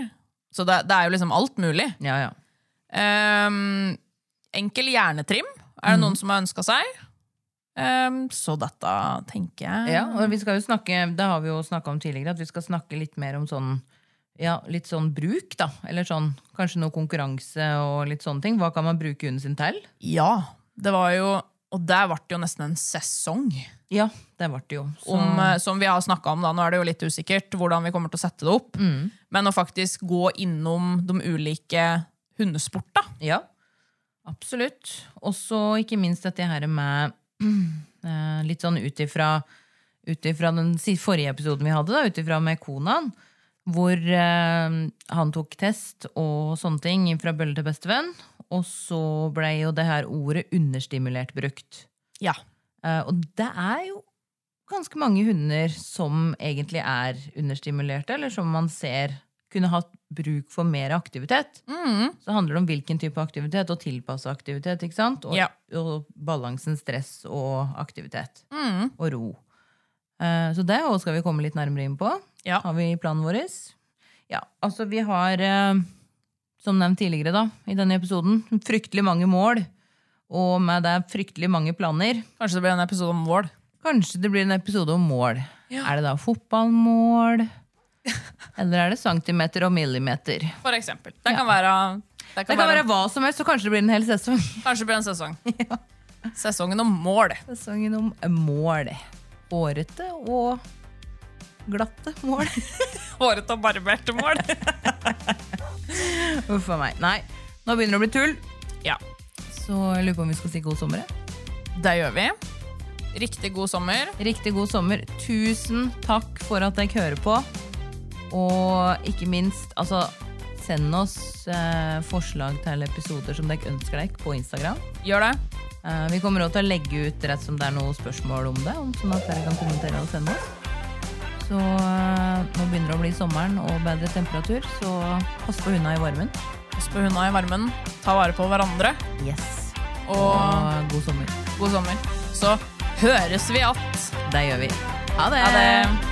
Speaker 2: Så det, det er jo liksom alt mulig.
Speaker 1: Ja, ja.
Speaker 2: Ehm, enkel hjernetrim
Speaker 1: Mhm.
Speaker 2: er det noen som har ønska seg. Ehm, så dette tenker jeg
Speaker 1: Ja, og vi skal jo snakke, det har vi jo snakka om tidligere, at vi skal snakke litt mer om sånn ja, litt sånn bruk, da. Eller sånn, kanskje noe konkurranse og litt sånne ting. Hva kan man bruke hunden sin til?
Speaker 2: Ja, det var jo Og der ble det jo nesten en sesong
Speaker 1: Ja, det ble det jo. Så,
Speaker 2: om, eh, som vi har snakka om. da, Nå er det jo litt usikkert hvordan vi kommer til å sette det opp. Men å faktisk gå innom de ulike hundesporta.
Speaker 1: ja, absolutt. Og så ikke minst dette her med [clears throat] eh, litt sånn ut ifra ut ifra den si- forrige episoden vi hadde, da, ut ifra med konaen, hvor eh, han tok test og sånne ting fra bølle til bestevenn. Og så blei jo det her ordet understimulert brukt.
Speaker 2: Ja.
Speaker 1: Eh, og det er jo ganske mange hunder som egentlig er understimulerte, eller som man ser kunne hatt bruk for mer aktivitet.
Speaker 2: Mm.
Speaker 1: Så handler det om hvilken type aktivitet, og tilpasse aktivitet. ikke sant? Og,
Speaker 2: Ja.
Speaker 1: og balansen stress og aktivitet.
Speaker 2: Mm.
Speaker 1: Og ro. Eh, så det også skal vi komme litt nærmere inn på.
Speaker 2: Ja.
Speaker 1: Har vi planen vår? Ja, altså vi har, eh, som nevnt tidligere da, i denne episoden, fryktelig mange mål. Og med det fryktelig mange planer.
Speaker 2: Kanskje det blir en episode om Vål.
Speaker 1: Kanskje det blir en episode om mål. Er det da [laughs] fotballmål? Eller er det centimeter og millimeter?
Speaker 2: For eksempel. Det kan være, det
Speaker 1: Det
Speaker 2: kan
Speaker 1: kan
Speaker 2: være,
Speaker 1: være hva som helst, så kanskje det blir en hel sesong. [laughs]
Speaker 2: Kanskje det blir en [laughs] sesong. Sesongen om mål.
Speaker 1: Sesongen om mål. Hårete og glatte mål.
Speaker 2: Håret og barberte mål.
Speaker 1: [laughs] Uff a meg. Nei, nå begynner det å bli tull.
Speaker 2: [laughs] ja,
Speaker 1: Så jeg lurer på om vi skal si god sommer. jeg.
Speaker 2: det gjør vi. Riktig god sommer.
Speaker 1: Riktig god sommer. Tusen takk for at dere hører på. Og ikke minst, altså Send oss eh, forslag til episoder som dere ønsker dere på Instagram.
Speaker 2: Gjør det.
Speaker 1: Eh, vi kommer også til å legge ut rett som det er noen spørsmål om det, om sånn at dere kan kommentere og sende oss. Så eh, nå begynner det å bli sommeren og bedre temperatur, så pass på hundene i varmen.
Speaker 2: Pass på hundene i varmen. Ta vare på hverandre.
Speaker 1: Yes.
Speaker 2: Og
Speaker 1: Og god sommer.
Speaker 2: god sommer. Så høres vi att.
Speaker 1: Det gjør vi. Ha det!
Speaker 2: Ha det.